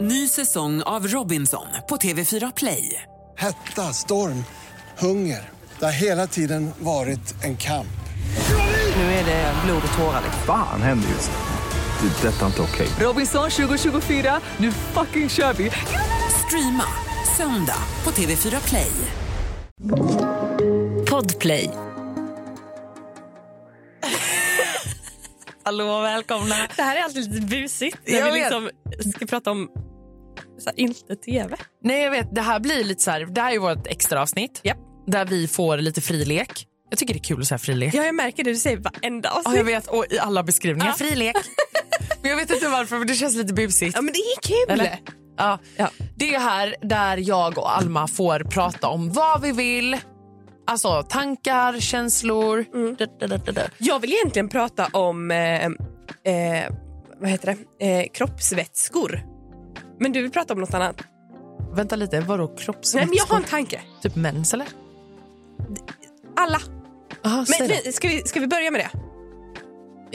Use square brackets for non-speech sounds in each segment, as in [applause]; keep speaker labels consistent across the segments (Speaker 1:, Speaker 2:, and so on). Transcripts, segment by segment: Speaker 1: Ny säsong av Robinson på TV4 Play.
Speaker 2: Hetta, storm, hunger. Det har hela tiden varit en kamp.
Speaker 1: Nu är det blod och tårar.
Speaker 3: Fan händer just nu. Det. är Detta är inte okej.
Speaker 1: Robinson 2024, nu fucking kör vi! Streama söndag på TV4 Play.
Speaker 4: Podplay. Hallå och välkomna.
Speaker 5: Det här är alltid lite busigt när vi
Speaker 4: Jag vet.
Speaker 5: liksom ska prata om så här, inte tv.
Speaker 4: Nej, jag vet. Det här blir lite så här, det här är vårt extra avsnitt
Speaker 5: Japp.
Speaker 4: där vi får lite frilek. Jag tycker det är kul att säga frilek.
Speaker 5: Ja, jag märker det. Du säger varenda
Speaker 4: Ja,
Speaker 5: avsnitt.
Speaker 4: jag vet. Och i alla beskrivningar. Frilek. [laughs] men jag vet inte varför, men det känns lite busigt.
Speaker 5: Ja, men det är kul.
Speaker 4: Eller? Ja.
Speaker 5: Ja.
Speaker 4: Det är här där jag och Alma får prata om vad vi vill. Alltså tankar, känslor. Da, da, da, da, da.
Speaker 5: Jag vill egentligen prata om eh, eh, vad heter det? Eh, kroppsvätskor. Men du vill prata om något annat.
Speaker 4: Vänta lite, vadå
Speaker 5: Nej,
Speaker 4: kroppsvätskor?
Speaker 5: men jag har en tanke.
Speaker 4: Typ mens eller?
Speaker 5: Alla.
Speaker 4: Aha, säg
Speaker 5: Men,
Speaker 4: då.
Speaker 5: men, ska, vi, ska vi börja med det?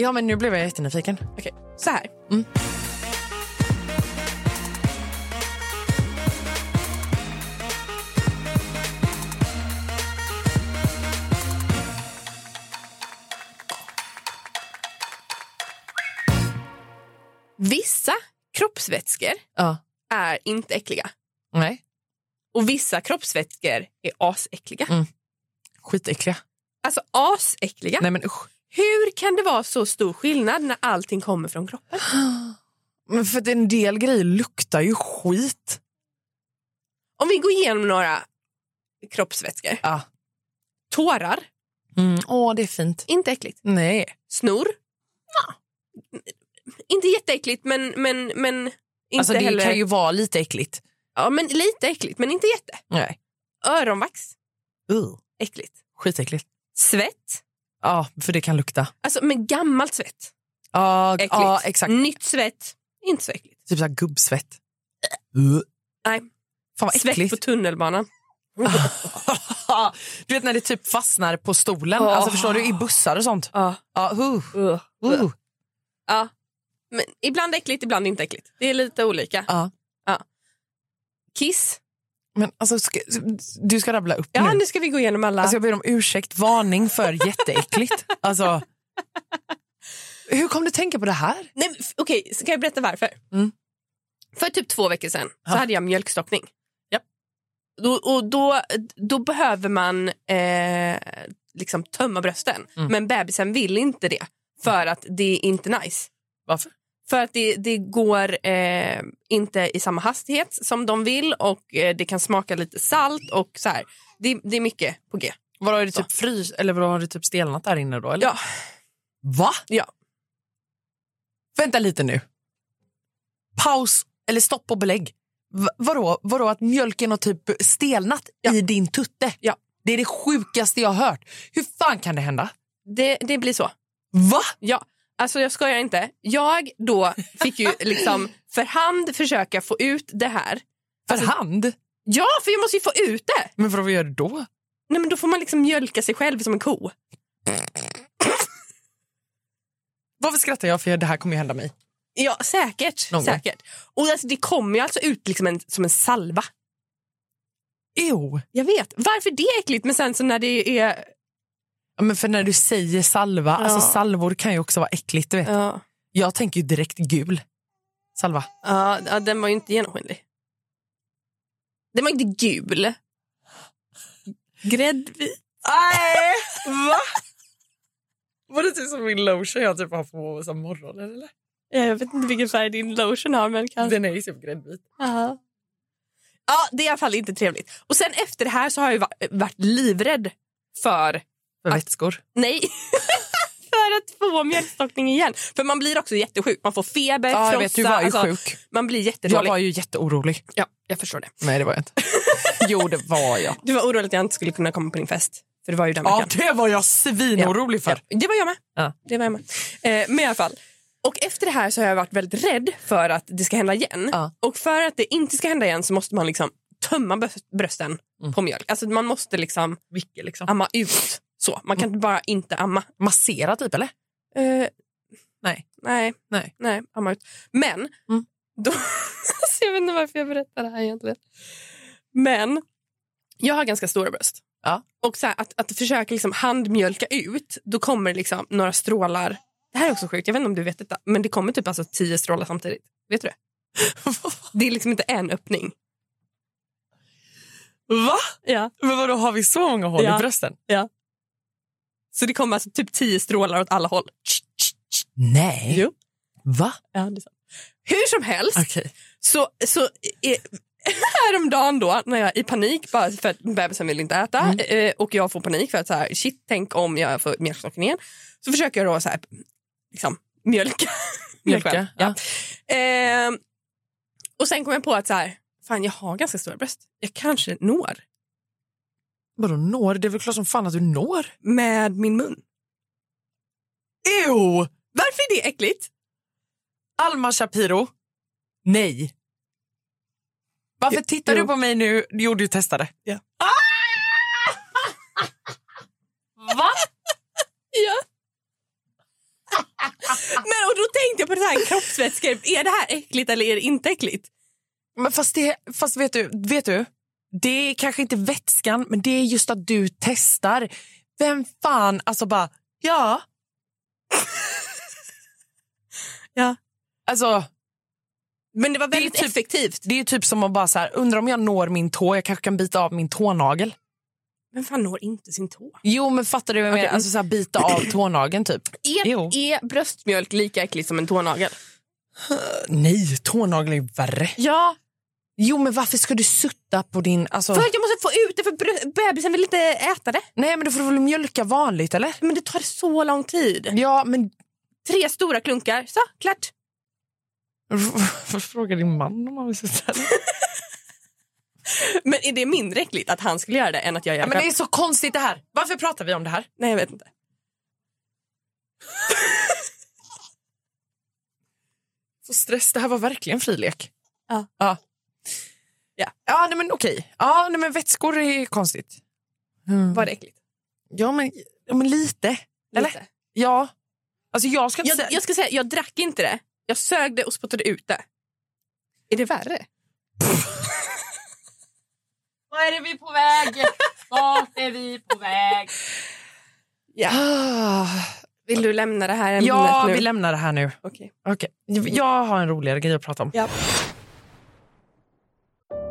Speaker 4: Ja, men nu blev jag jättenyfiken.
Speaker 5: Okej, så här. Mm. Vissa kroppsvätskor
Speaker 4: Ja.
Speaker 5: är inte äckliga
Speaker 4: Nej,
Speaker 5: och vissa kroppsvätskor är asäckliga.
Speaker 4: skitäckliga.
Speaker 5: Alltså asäckliga.
Speaker 4: Nej, men usch.
Speaker 5: Hur kan det vara så stor skillnad när allting kommer från kroppen?
Speaker 4: Men för att en del grejer luktar ju skit.
Speaker 5: Om vi går igenom några kroppsvätskor.
Speaker 4: Ja.
Speaker 5: Tårar,
Speaker 4: Ah. Mm. Åh, det är fint.
Speaker 5: inte äckligt.
Speaker 4: Nej.
Speaker 5: Snor? Inte jätteäckligt, men, men, men inte
Speaker 4: Alltså, det
Speaker 5: heller...
Speaker 4: kan ju vara lite äckligt.
Speaker 5: Ja, men lite äckligt, men inte jätte.
Speaker 4: Nej.
Speaker 5: Öronvax,
Speaker 4: Uh.
Speaker 5: äckligt.
Speaker 4: Skitäckligt.
Speaker 5: Svett,
Speaker 4: Ja, för det kan lukta.
Speaker 5: alltså men gammalt svett,
Speaker 4: Ja,
Speaker 5: äckligt.
Speaker 4: ja exakt.
Speaker 5: Nytt svett, inte så äckligt.
Speaker 4: Typ så här gubbsvett. Uh.
Speaker 5: Nej.
Speaker 4: Fan vad
Speaker 5: Svett på
Speaker 4: äckligt.
Speaker 5: tunnelbanan.
Speaker 4: du vet när det typ fastnar på stolen,
Speaker 5: Åh.
Speaker 4: alltså förstår du, i bussar och sånt.
Speaker 5: Ja.
Speaker 4: Ja, uh,
Speaker 5: Uh.
Speaker 4: uh.
Speaker 5: Ja. Men ibland äckligt, ibland inte äckligt. Det är lite olika.
Speaker 4: Ja.
Speaker 5: Kiss.
Speaker 4: Men alltså, ska, du ska rabbla upp
Speaker 5: Ja,
Speaker 4: nu.
Speaker 5: nu ska vi gå igenom alla.
Speaker 4: Alltså jag ber om ursäkt, varning för [laughs] jätteäckligt. Alltså, hur kom du tänka på det här?
Speaker 5: Nej, men f- Okej, ska jag berätta varför?
Speaker 4: Mm.
Speaker 5: För typ två veckor sedan
Speaker 4: Ja.
Speaker 5: så hade jag mjölkstockning.
Speaker 4: Ja.
Speaker 5: Då, och då, då behöver man eh, liksom tömma brösten,
Speaker 4: Mm.
Speaker 5: men bebisen vill inte det för att det är inte nice.
Speaker 4: Varför?
Speaker 5: För att det, det går eh, inte i samma hastighet som de vill och eh, det kan smaka lite salt och så här. Det, det är mycket på G.
Speaker 4: Var har det typ frys eller var har det typ stelnat där inne då? Eller?
Speaker 5: Ja.
Speaker 4: Va?
Speaker 5: Ja.
Speaker 4: Vänta lite nu. Paus eller stopp och belägg. V- vadå? vadå att mjölken har typ stelnat i din tutte?
Speaker 5: Ja.
Speaker 4: Det är det sjukaste jag har hört. Hur fan kan det hända?
Speaker 5: Det, det blir så.
Speaker 4: Va?
Speaker 5: Ja, alltså jag skojar inte. Jag då fick [laughs] ju liksom för hand försöka få ut det här.
Speaker 4: För hand?
Speaker 5: Ja, för jag måste ju få ut det!
Speaker 4: Alltså- Men vadå, vad gör du då?
Speaker 5: Nej, men då får man liksom mjölka sig själv som en ko.
Speaker 4: Varför skrattar jag? För det här kommer ju hända mig.
Speaker 5: Ja, säkert.
Speaker 4: Någon gång.
Speaker 5: säkert. Och alltså, det kommer ju alltså ut liksom en, som en salva.
Speaker 4: Ew.
Speaker 5: Jag vet. Varför det är äckligt, men sen så när det är...
Speaker 4: Ja, men för när du säger salva, alltså
Speaker 5: Ja.
Speaker 4: salvor kan ju också vara äckligt. Du vet.
Speaker 5: Ja,
Speaker 4: Jag tänker ju direkt gul. Salva.
Speaker 5: ja, ja, den var ju inte genomskinlig. Den var inte gul. Gräddvit.
Speaker 4: Nej, va? Var det typ som min lotion jag typ har på som morgonen eller?
Speaker 5: Ja, Jag vet inte vilken färg din lotion har, men kanske...
Speaker 4: Den är ju typ gräddvit.
Speaker 5: Ja. Ja, det är i alla fall inte trevligt. Och sen efter det här så har jag ju va- varit livrädd för,
Speaker 4: För vätskor.
Speaker 5: nej, [laughs] för att få mjölkstockning igen. För man blir också jättesjuk. Man får feber,
Speaker 4: Ja, jag
Speaker 5: frossa.
Speaker 4: vet, du var ju
Speaker 5: alltså,
Speaker 4: sjuk.
Speaker 5: Man blir
Speaker 4: Jag
Speaker 5: jättedålig.
Speaker 4: var ju jätteorolig.
Speaker 5: Ja, jag förstår det.
Speaker 4: Nej, det var jag inte. [laughs] jo, det var [laughs] jag.
Speaker 5: Du var orolig att jag inte skulle kunna komma på din fest. För det var ju den
Speaker 4: Ja,
Speaker 5: veckan.
Speaker 4: det var jag svinorolig för.
Speaker 5: Det var jag med.
Speaker 4: Ja.
Speaker 5: Det var jag med. Eh, men i alla fall. Och efter det här så har jag varit väldigt rädd för att det ska hända igen.
Speaker 4: Ja.
Speaker 5: Och för att det inte ska hända igen så måste man liksom tömma brö- brösten på mjölk. Alltså man måste liksom
Speaker 4: Mycket Mm. liksom. Mm.
Speaker 5: amma ut. Så. Man kan inte bara inte amma.
Speaker 4: Massera typ eller?
Speaker 5: Eh,
Speaker 4: Nej.
Speaker 5: nej,
Speaker 4: Nej.
Speaker 5: nej, amma ut. Men
Speaker 4: Mm.
Speaker 5: då, [laughs] alltså jag Jag vet inte varför jag berättar det här egentligen. Men jag har ganska stora bröst.
Speaker 4: Ja.
Speaker 5: Och så här, att, att försöka liksom handmjölka ut, då kommer det liksom några strålar. Det här är också sjukt, jag vet inte om du vet detta, men det kommer typ alltså tio strålar samtidigt. Vet du
Speaker 4: [laughs]
Speaker 5: det? Det är liksom inte en öppning.
Speaker 4: Va?
Speaker 5: Ja.
Speaker 4: Men vadå, har vi så många hål
Speaker 5: Ja.
Speaker 4: i brösten?
Speaker 5: Så det kommer alltså typ tio strålar åt alla håll.
Speaker 4: Nej.
Speaker 5: Jo.
Speaker 4: Va?
Speaker 5: Ja, det är sant. Hur som helst,
Speaker 4: Okej.
Speaker 5: så, så eh, [laughs] häromdagen då när jag i panik bara för att bebisen vill inte äta
Speaker 4: Mm.
Speaker 5: eh, och jag får panik för att så här, shit tänk om jag får mjölkstockning igen så försöker jag då så här, liksom mjölka. [laughs]
Speaker 4: Mjölka,
Speaker 5: själv, ja. Ehm, och sen kom jag på att så här, fan jag har ganska stora bröst. Jag kanske når
Speaker 4: Vadå når? Det är väl klart som fan att du når.
Speaker 5: med min mun.
Speaker 4: Ew!
Speaker 5: Varför är det äckligt?
Speaker 4: Alma Shapiro. Nej. Varför
Speaker 5: Jo,
Speaker 4: tittar
Speaker 5: jo.
Speaker 4: du på mig nu? Jo, du testade.
Speaker 5: Ja.
Speaker 4: Ah! [laughs] Va? [laughs]
Speaker 5: Ja. Men och då tänkte jag på det här kroppsvätskor. Är det här äckligt eller är det inte äckligt?
Speaker 4: Men fast, det, fast vet, du, vet du, det är kanske inte vätskan, men det är just att du testar. Vem fan, alltså bara, ja.
Speaker 5: Ja.
Speaker 4: Alltså,
Speaker 5: Men det var
Speaker 4: Det är
Speaker 5: väldigt
Speaker 4: typ-
Speaker 5: effektivt.
Speaker 4: det är typ som att bara så här, undrar om jag når min tå, jag kanske kan bita av min tånagel.
Speaker 5: Men fan når inte sin tå?
Speaker 4: Jo, men fattar du vad jag menar?
Speaker 5: Okej.
Speaker 4: Alltså så här, bita av tånageln typ. Jo.
Speaker 5: Är, är bröstmjölk lika äckligt som en tånagel?
Speaker 4: Nej, tånagel är ju värre.
Speaker 5: Ja.
Speaker 4: Jo, men varför ska du sutta på din... Alltså...
Speaker 5: För att jag måste få ut det för brö- bebisen vill inte äta det.
Speaker 4: Nej, men då får du väl mjölka vanligt, eller?
Speaker 5: Men det tar så lång tid.
Speaker 4: Ja, men...
Speaker 5: Tre stora klunkar, så
Speaker 4: [laughs]
Speaker 5: klart.
Speaker 4: Fråga din man om han vill sutta.
Speaker 5: Men är det mindre äckligt att han skulle göra det än att jag gör
Speaker 4: Ja,
Speaker 5: det?
Speaker 4: men det
Speaker 5: själv?
Speaker 4: är så konstigt det här. Varför pratar vi om det här?
Speaker 5: Nej, jag vet inte.
Speaker 4: Så stress, det här var verkligen frilek.
Speaker 5: Ja.
Speaker 4: Ja, ja. ja nej, men okej. Ja, nej, men vätskor är konstigt.
Speaker 5: Var det äckligt?
Speaker 4: Ja, men, ja, men lite. Eller?
Speaker 5: Lite.
Speaker 4: Ja. Alltså, jag ska inte
Speaker 5: Jag,
Speaker 4: säga...
Speaker 5: jag ska säga, jag drack inte det. Jag sög det och spottade ut det. Är det värre?
Speaker 6: Vad är det vi är på väg? Vart är vi på väg?
Speaker 4: Ah,
Speaker 5: Vill du lämna det här ämnet
Speaker 4: ja,
Speaker 5: nu?
Speaker 4: vi lämnar det här nu.
Speaker 5: Okej.
Speaker 4: Okej. Jag har en roligare grej att prata om.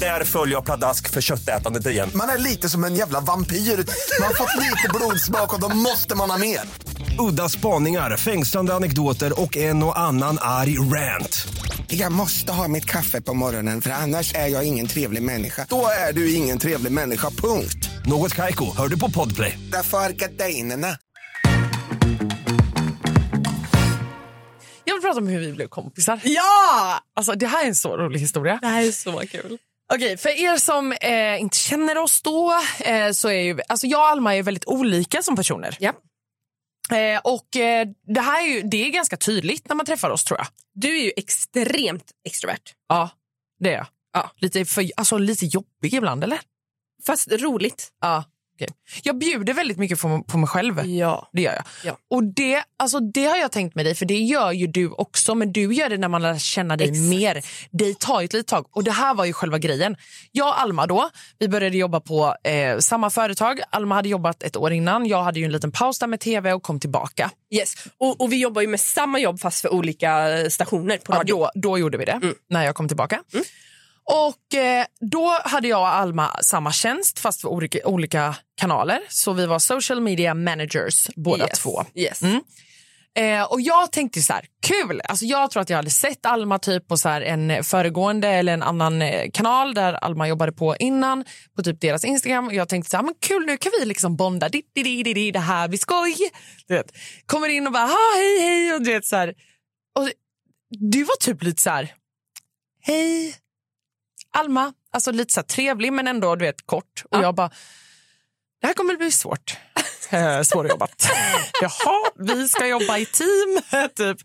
Speaker 7: Där följer jag pladask för köttätandet igen.
Speaker 8: Man är lite som en jävla vampyr. Man har fått lite blodsmak och då måste man ha mer.
Speaker 7: Udda spaningar, fängslande anekdoter och en och annan arg rant.
Speaker 8: Jag måste ha mitt kaffe på morgonen för annars är jag ingen trevlig människa. Då är du ingen trevlig människa, punkt.
Speaker 7: Något Kaiko, hör du på Podplay.
Speaker 8: Därför arkadeinerna.
Speaker 4: Jag vill prata om hur vi blev kompisar. Ja! Alltså, det här är en så rolig historia.
Speaker 5: Det här är så kul.
Speaker 4: Okej, för er som eh, inte känner oss då, eh, så är ju, alltså jag och Alma är ju väldigt olika som personer.
Speaker 5: Ja.
Speaker 4: Eh, och eh, det här är ju, det är ganska tydligt när man träffar oss tror jag.
Speaker 5: Du är ju extremt extrovert.
Speaker 4: Ja, det är jag. Ja. Lite, för, alltså, lite jobbig ibland, eller?
Speaker 5: Fast roligt.
Speaker 4: Ja. okej. Jag bjuder väldigt mycket på, på mig själv.
Speaker 5: Ja.
Speaker 4: Det gör jag.
Speaker 5: Ja.
Speaker 4: Och det, alltså det har jag tänkt med dig, för det gör ju du också, men du gör det när man lär känna dig
Speaker 5: Exakt.
Speaker 4: mer. Det tar ju ett litet tag. Och det här var ju själva grejen. Jag och Alma då, vi började jobba på eh, samma företag. Alma hade jobbat ett år innan, jag hade ju en liten paus där med tv och kom tillbaka.
Speaker 5: Yes. Och, och vi jobbar ju med samma jobb fast för olika eh, stationer på
Speaker 4: Ja,
Speaker 5: radio.
Speaker 4: då, då gjorde vi det,
Speaker 5: Mm.
Speaker 4: när jag kom tillbaka. Och eh, Då hade jag och Alma samma tjänst, fast för olika, olika kanaler. Så vi var social media managers båda
Speaker 5: yes.
Speaker 4: två.
Speaker 5: Yes.
Speaker 4: Mm. Eh, och jag tänkte så här, kul! Alltså jag tror att jag hade sett Alma typ på så här en föregående eller en annan eh, kanal där Alma jobbade på innan, på typ deras Instagram. Och jag tänkte så här, men kul nu kan vi liksom bonda, di, di, di, di, di, det här blir skoj. Du vet. Kommer in och bara, ha, hej hej! Och du vet så här. Och du var typ lite så här, hej Alma, alltså lite så här trevlig men ändå du vet kort. Och jag bara, det här kommer bli svårt. Eh, Svårjobbat. Jaha, vi ska jobba i team. [laughs] typ.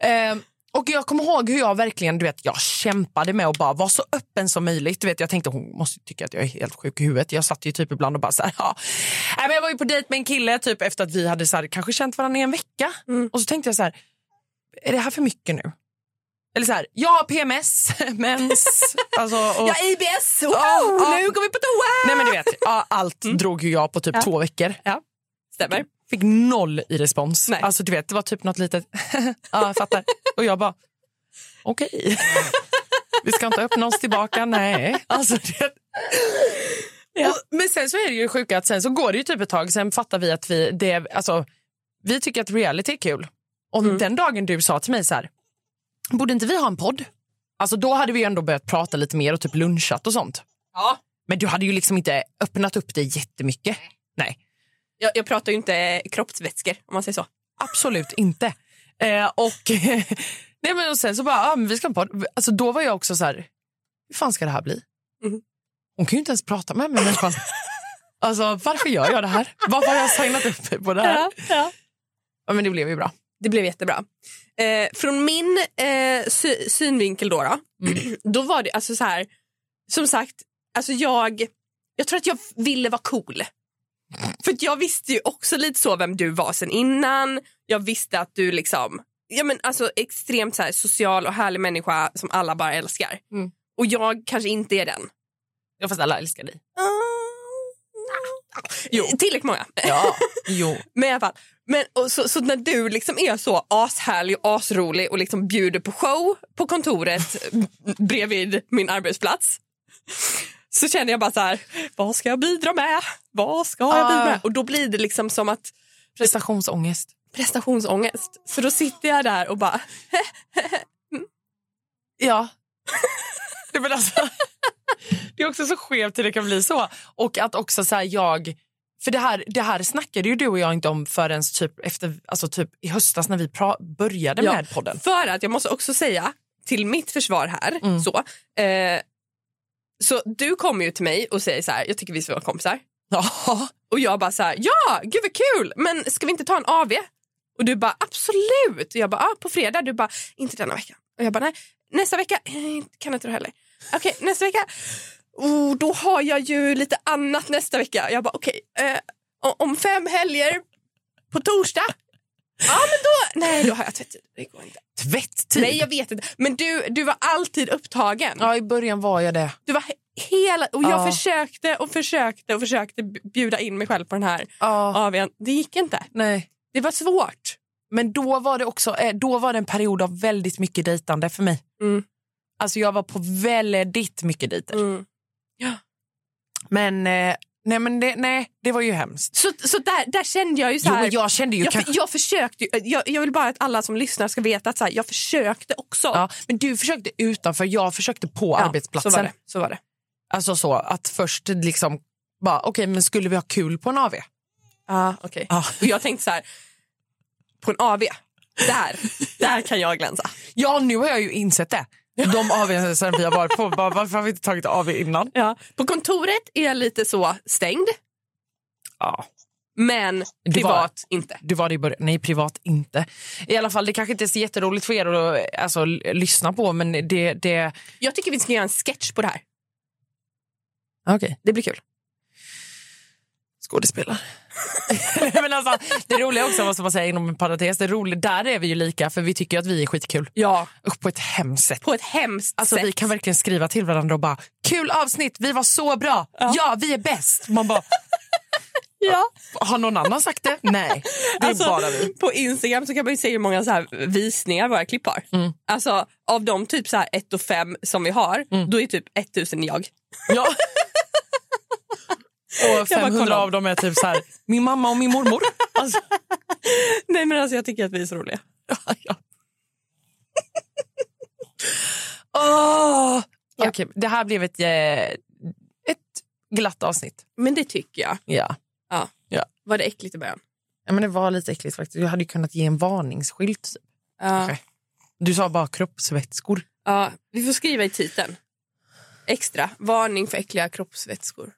Speaker 4: Eh, och jag kommer ihåg hur jag verkligen du vet, jag kämpade med att bara vara så öppen som möjligt. Du vet, jag tänkte hon måste ju tycka att jag är helt sjuk i huvudet. Jag satt ju typ ibland och bara så här, ja. Nej, men jag var ju på dejt med en kille typ efter att vi hade så här, kanske känt varandra i en vecka. Och så tänkte jag så här, är det här för mycket nu? Eller så här, jag har PMS, [laughs] mens. Alltså,
Speaker 5: [laughs]
Speaker 4: och,
Speaker 5: Ja, IBS! Wow,
Speaker 4: Ja,
Speaker 5: nu
Speaker 4: ja.
Speaker 5: går vi på toa!
Speaker 4: nej men du vet, ja, allt drog ju jag på typ två veckor.
Speaker 5: Stämmer.
Speaker 4: Fick noll i respons.
Speaker 5: Nej.
Speaker 4: Alltså du vet, det var typ något litet, [laughs] ja jag fattar. Och jag bara, okej.
Speaker 5: [laughs]
Speaker 4: Vi ska inte öppna oss tillbaka, nej. Alltså, du vet. Och, men sen så är det ju sjuka att sen så går det ju typ ett tag, sen fattar vi att vi, det, alltså, vi tycker att reality är kul. Och
Speaker 5: Mm.
Speaker 4: den dagen du sa till mig så här, borde inte vi ha en podd? Alltså då hade vi ju ändå börjat prata lite mer och typ lunchat och sånt.
Speaker 5: Ja.
Speaker 4: Men du hade ju liksom inte öppnat upp dig jättemycket. Nej.
Speaker 5: Jag, jag pratar ju inte kroppsvätskor, om man säger så.
Speaker 4: Absolut inte. Eh, och, [laughs] nej men och sen så bara, ah, men vi ska ha en podd. Alltså, då var jag också så här, hur fan ska det här bli? Mm-hmm. Hon kan ju inte ens prata med mig människan. Alltså varför gör jag det här? Varför har jag signat upp mig på det här? Ja, men det blev ju bra.
Speaker 5: Det blev jättebra. Eh, från min eh, sy- synvinkel då, då, [clears throat] då var det alltså så här, som sagt, alltså jag, jag tror att jag ville vara cool. För att jag visste ju också lite så vem du var sen innan. Jag visste att du liksom, ja men alltså extremt så här social och härlig människa som alla bara älskar.
Speaker 4: Mm.
Speaker 5: Och jag kanske inte är den.
Speaker 4: Ja, fast alla älskar dig.
Speaker 5: Jo. Tillräckligt många.
Speaker 4: Ja, jo.
Speaker 5: Men i alla fall. Men, och så, så när du liksom är så ashärlig och asrolig och liksom bjuder på show på kontoret [laughs] bredvid min arbetsplats så känner jag bara så här, vad ska jag bidra med? Vad ska jag
Speaker 4: Ah.
Speaker 5: bidra med? Och då blir det liksom som att
Speaker 4: Prestationsångest.
Speaker 5: prestationsångest. Så då sitter jag där och bara,
Speaker 4: Ja. [laughs] Nej, men alltså, det är också så skevt hur det kan bli så. Och att också så här, jag... För det här, det här snackade ju du och jag inte om förrän typ, efter, alltså typ i höstas när vi pra- började
Speaker 5: Ja.
Speaker 4: med podden.
Speaker 5: För att jag måste också säga till mitt försvar här. Så, eh, så du kommer ju till mig och säger så här, jag tycker vi ska vara kompisar. Ja. Och jag bara så här, ja, gud vad kul, men ska vi inte ta en AV? Och du bara absolut. Och jag bara, ah, på fredag. Du bara, inte denna veckan. Och jag bara, nej, nästa vecka. [laughs] Eh, Kan inte du heller. Okej, nästa vecka. Oh, då har jag ju lite annat nästa vecka. Jag bara, okej, eh, o- om fem helger på torsdag. Ja, men då, nej, då har jag tvättat. Det går inte.
Speaker 4: Tvätttid.
Speaker 5: Nej, jag vet inte. Men du, du var alltid upptagen.
Speaker 4: Ja, i början var jag det.
Speaker 5: Du var he- hela... Och jag
Speaker 4: Ja.
Speaker 5: försökte och försökte och försökte b- bjuda in mig själv på den här
Speaker 4: Ja.
Speaker 5: AWn. Det gick inte.
Speaker 4: Nej.
Speaker 5: Det var svårt.
Speaker 4: Men då var det också eh, då var det en period av väldigt mycket dejtande för mig.
Speaker 5: Mm.
Speaker 4: Alltså jag var på väldigt mycket dejter. Men, eh, nej, men det, nej, det var ju hemskt.
Speaker 5: Så, så där, där kände jag ju så
Speaker 4: Jo,
Speaker 5: här...
Speaker 4: men jag kände ju
Speaker 5: jag,
Speaker 4: kanske...
Speaker 5: jag försökte ju, jag, jag vill bara att alla som lyssnar ska veta att så här, jag försökte också.
Speaker 4: Ja, men du försökte utanför, jag försökte på
Speaker 5: Ja,
Speaker 4: arbetsplatsen.
Speaker 5: Så var det. Så var det.
Speaker 4: Alltså så att först liksom bara, okej men skulle vi ha kul på en AV?
Speaker 5: Ah, okay.
Speaker 4: Ja.
Speaker 5: Och jag tänkte så här... På en AV, där, där kan jag glänsa.
Speaker 4: Ja, nu har jag ju insett det. De AV sen vi har varit på, bara, varför har vi inte tagit AV innan?
Speaker 5: Ja. På kontoret är jag lite så stängd.
Speaker 4: Ja.
Speaker 5: Men
Speaker 4: var-
Speaker 5: privat inte.
Speaker 4: Du var det i början, nej privat inte. I alla fall, det kanske inte är så jätteroligt för er att eh, alltså, l- lyssna på men det... det...
Speaker 5: Jag tycker vi ska göra en sketch på det här.
Speaker 4: Okej.
Speaker 5: Det blir kul.
Speaker 4: Skådespelare. [laughs] men alltså, det roliga också, måste man säga inom en parentes, det roliga, där är vi ju lika för vi tycker ju att vi är skitkul.
Speaker 5: Ja.
Speaker 4: Usch, På ett hemskt sätt.
Speaker 5: På ett hemskt
Speaker 4: Alltså,
Speaker 5: sätt.
Speaker 4: vi kan verkligen skriva till varandra och bara kul avsnitt, vi var så bra, ja, vi är bäst. Man bara,
Speaker 5: [laughs] ja.
Speaker 4: har någon annan sagt det? Nej, det är
Speaker 5: alltså, [laughs]
Speaker 4: bara vi.
Speaker 5: På Instagram så kan man ju se hur många så här visningar våra klipp har. Alltså, av de typ så här 1 och 5 som vi har, då är typ 1000 jag. [laughs]
Speaker 4: Ja. Och
Speaker 5: bara,
Speaker 4: 500
Speaker 5: kolla om.
Speaker 4: av dem är typ så här, min mamma och min mormor. Alltså,
Speaker 5: Nej men alltså jag tycker att vi är så roliga.
Speaker 4: åh. Okej, det här blev ett, eh, ett glatt avsnitt.
Speaker 5: Men det tycker jag.
Speaker 4: Ja.
Speaker 5: Ja.
Speaker 4: Ja.
Speaker 5: Var det äckligt i början?
Speaker 4: Ja, men det var lite äckligt faktiskt. Jag hade ju kunnat ge en varningsskylt. typ.
Speaker 5: Ja.
Speaker 4: Okej. Du sa bara kroppsvätskor.
Speaker 5: Ja, vi får skriva i titeln. Extra. Varning för äckliga kroppsvätskor.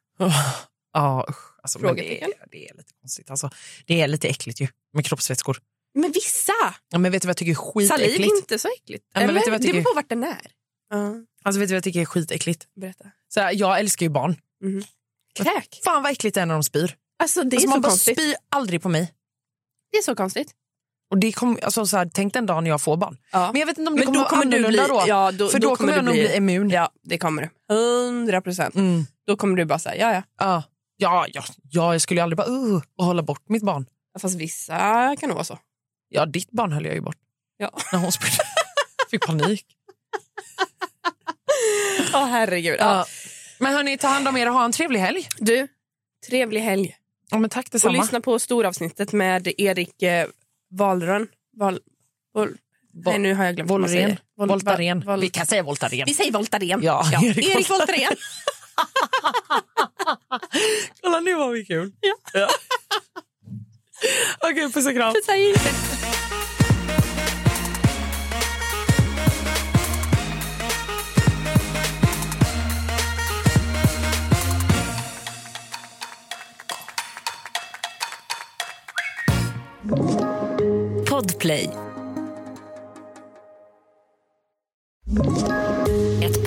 Speaker 4: Ja, usch. Alltså, men det, är,
Speaker 5: Frågetecken.
Speaker 4: det är lite konstigt. Alltså, det är lite äckligt ju med kroppsvätskor.
Speaker 5: Men vissa!
Speaker 4: Ja, men vet du vad jag tycker är
Speaker 5: Saliv är
Speaker 4: skitäckligt?
Speaker 5: inte så äckligt.
Speaker 4: Ja, men
Speaker 5: Eller?
Speaker 4: vet du vad jag
Speaker 5: det beror
Speaker 4: tycker?
Speaker 5: på vart den är. Ja,
Speaker 4: Alltså, vet du vad jag tycker är skitäckligt?
Speaker 5: berätta.
Speaker 4: Så här, jag älskar ju barn.
Speaker 5: Kräk.
Speaker 4: Fan vad äckligt det är när de spyr.
Speaker 5: Alltså, det är
Speaker 4: alltså, man
Speaker 5: så
Speaker 4: bara
Speaker 5: konstigt.
Speaker 4: spyr aldrig på mig.
Speaker 5: Det är så konstigt.
Speaker 4: Och det kom, alltså, så här, tänk den dagen jag får barn.
Speaker 5: Ja.
Speaker 4: Men jag vet inte om det
Speaker 5: Men
Speaker 4: kommer,
Speaker 5: då kommer
Speaker 4: vara
Speaker 5: du bli...
Speaker 4: annorlunda då.
Speaker 5: Ja, då,
Speaker 4: För då, kommer,
Speaker 5: du
Speaker 4: jag nog
Speaker 5: bli-
Speaker 4: bli immun.
Speaker 5: Ja, det kommer du. Hundra procent.
Speaker 4: Mm.
Speaker 5: Då kommer du bara säga ja, ja.
Speaker 4: Ja. Ja, ja, ja, jag skulle ju aldrig bara uh, och hålla bort mitt barn.
Speaker 5: Fast vissa kan nog vara så.
Speaker 4: Ja, ditt barn höll jag ju bort.
Speaker 5: Ja.
Speaker 4: När hon spydde.
Speaker 5: [laughs]
Speaker 4: Fick panik.
Speaker 5: Ja, herregud. Ja.
Speaker 4: Ja. Men hörni, ta hand om er och ha en trevlig helg.
Speaker 5: Du, trevlig helg.
Speaker 4: Ja, men tack
Speaker 5: Och
Speaker 4: detsamma.
Speaker 5: lyssna på storavsnittet med Erik eh, Wahlrön. Val, Vol, nej, nu har jag glömt vad man
Speaker 4: Voltaren.
Speaker 5: säger. Vol-
Speaker 4: Voltaren.
Speaker 5: Vol-
Speaker 4: Vi kan säga Voltaren.
Speaker 5: Vi säger Voltaren.
Speaker 4: Ja, Erik
Speaker 5: Erik,
Speaker 4: Voltaren.
Speaker 5: Voltaren.
Speaker 4: Kolla, nu var vi kul. Ja. [laughs] Okej, puss och kram.
Speaker 9: Podplay. Ett